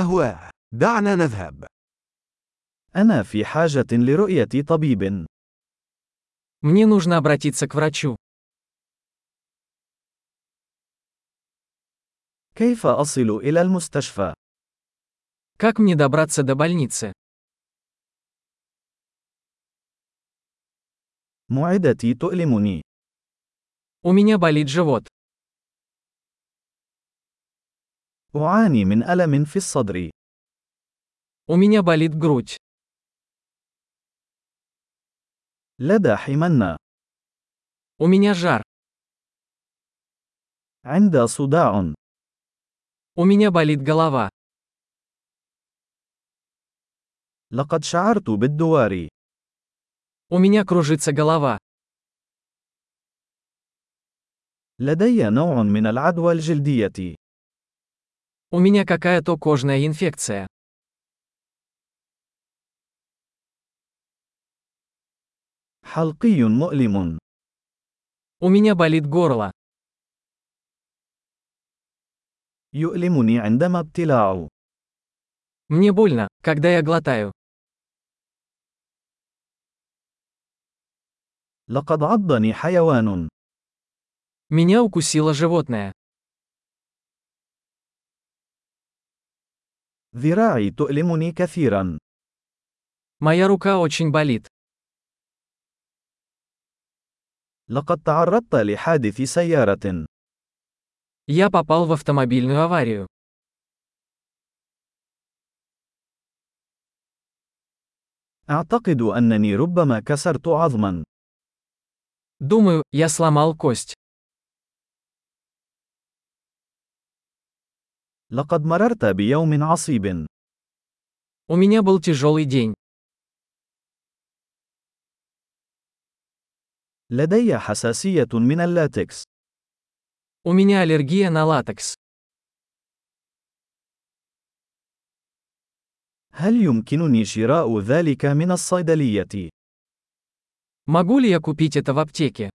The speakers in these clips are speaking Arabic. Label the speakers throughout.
Speaker 1: هواه. دعنا نذهب.
Speaker 2: أنا في حاجة لرؤية طبيب.
Speaker 3: Мне нужно обратиться к врачу.
Speaker 2: كيف أصل إلى المستشفى؟
Speaker 3: Как мне добраться до больницы?
Speaker 2: معدتي تؤلمني.
Speaker 3: У меня болит живот.
Speaker 2: أعاني من ألم في الصدر.
Speaker 3: У меня болит грудь.
Speaker 2: لدى حمنة.
Speaker 3: У меня жар.
Speaker 2: عند صداع.
Speaker 3: У меня болит голова.
Speaker 2: لقد شعرت بالدوار.
Speaker 3: У меня кружится голова.
Speaker 2: لدي نوع من العدوى الجلدية.
Speaker 3: У меня какая-то кожная инфекция.
Speaker 2: حلقي مؤلم.
Speaker 3: У меня болит горло.
Speaker 2: يؤلمني عندما ابتلاع.
Speaker 3: Мне больно, когда я глотаю.
Speaker 2: لقد عضني حيوان.
Speaker 3: Меня укусило животное.
Speaker 2: ذراعي تؤلمني كثيرا.
Speaker 3: Моя рука очень болит.
Speaker 2: لقد تعرضت لحادث سيارة.
Speaker 3: Я попал в автомобильную аварию.
Speaker 2: أعتقد أنني ربما كسرت عظما.
Speaker 3: Думаю, я сломал кость.
Speaker 2: لقد مررت بيوم عصيب.
Speaker 3: У меня был тяжелый день.
Speaker 2: لدي حساسية من اللاتكس.
Speaker 3: У меня аллергия на латекс.
Speaker 2: هل يمكنني شراء ذلك من الصيدلية؟
Speaker 3: Могу ли я купить это в аптеке?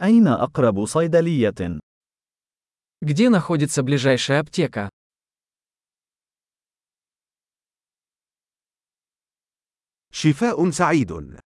Speaker 2: أين أقرب صيدلية؟
Speaker 3: Где находится ближайшая аптека?
Speaker 1: شفاء سعيد.